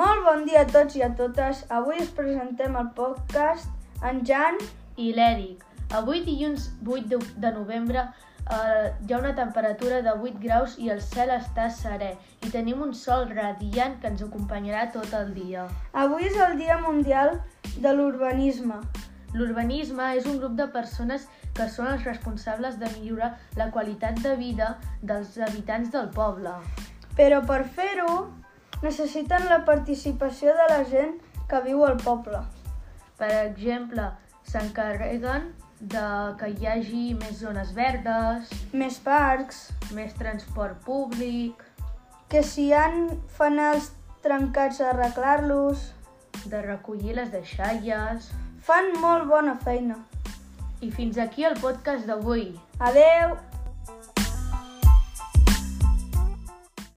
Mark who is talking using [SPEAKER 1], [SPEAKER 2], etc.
[SPEAKER 1] Molt bon dia a tots i a totes. Avui us presentem el podcast en Jan.
[SPEAKER 2] i l'Eric. Avui dilluns 8 de, de novembre eh, hi ha una temperatura de 8 graus i el cel està serè i tenim un sol radiant que ens acompanyarà tot el dia.
[SPEAKER 1] Avui és el Dia Mundial de l'Urbanisme.
[SPEAKER 2] L'urbanisme és un grup de persones que són els responsables de millorar la qualitat de vida dels habitants del poble.
[SPEAKER 1] Però per fer-ho necessiten la participació de la gent que viu al poble.
[SPEAKER 2] Per exemple, s'encarreguen de que hi hagi més zones verdes,
[SPEAKER 1] Més parcs,
[SPEAKER 2] més transport públic,
[SPEAKER 1] que si hi han fanals trencats a arreglar-los,
[SPEAKER 2] de recollir les deixalles,
[SPEAKER 1] fan molt bona feina.
[SPEAKER 2] I fins aquí el podcast d'avui.
[SPEAKER 1] Adeu!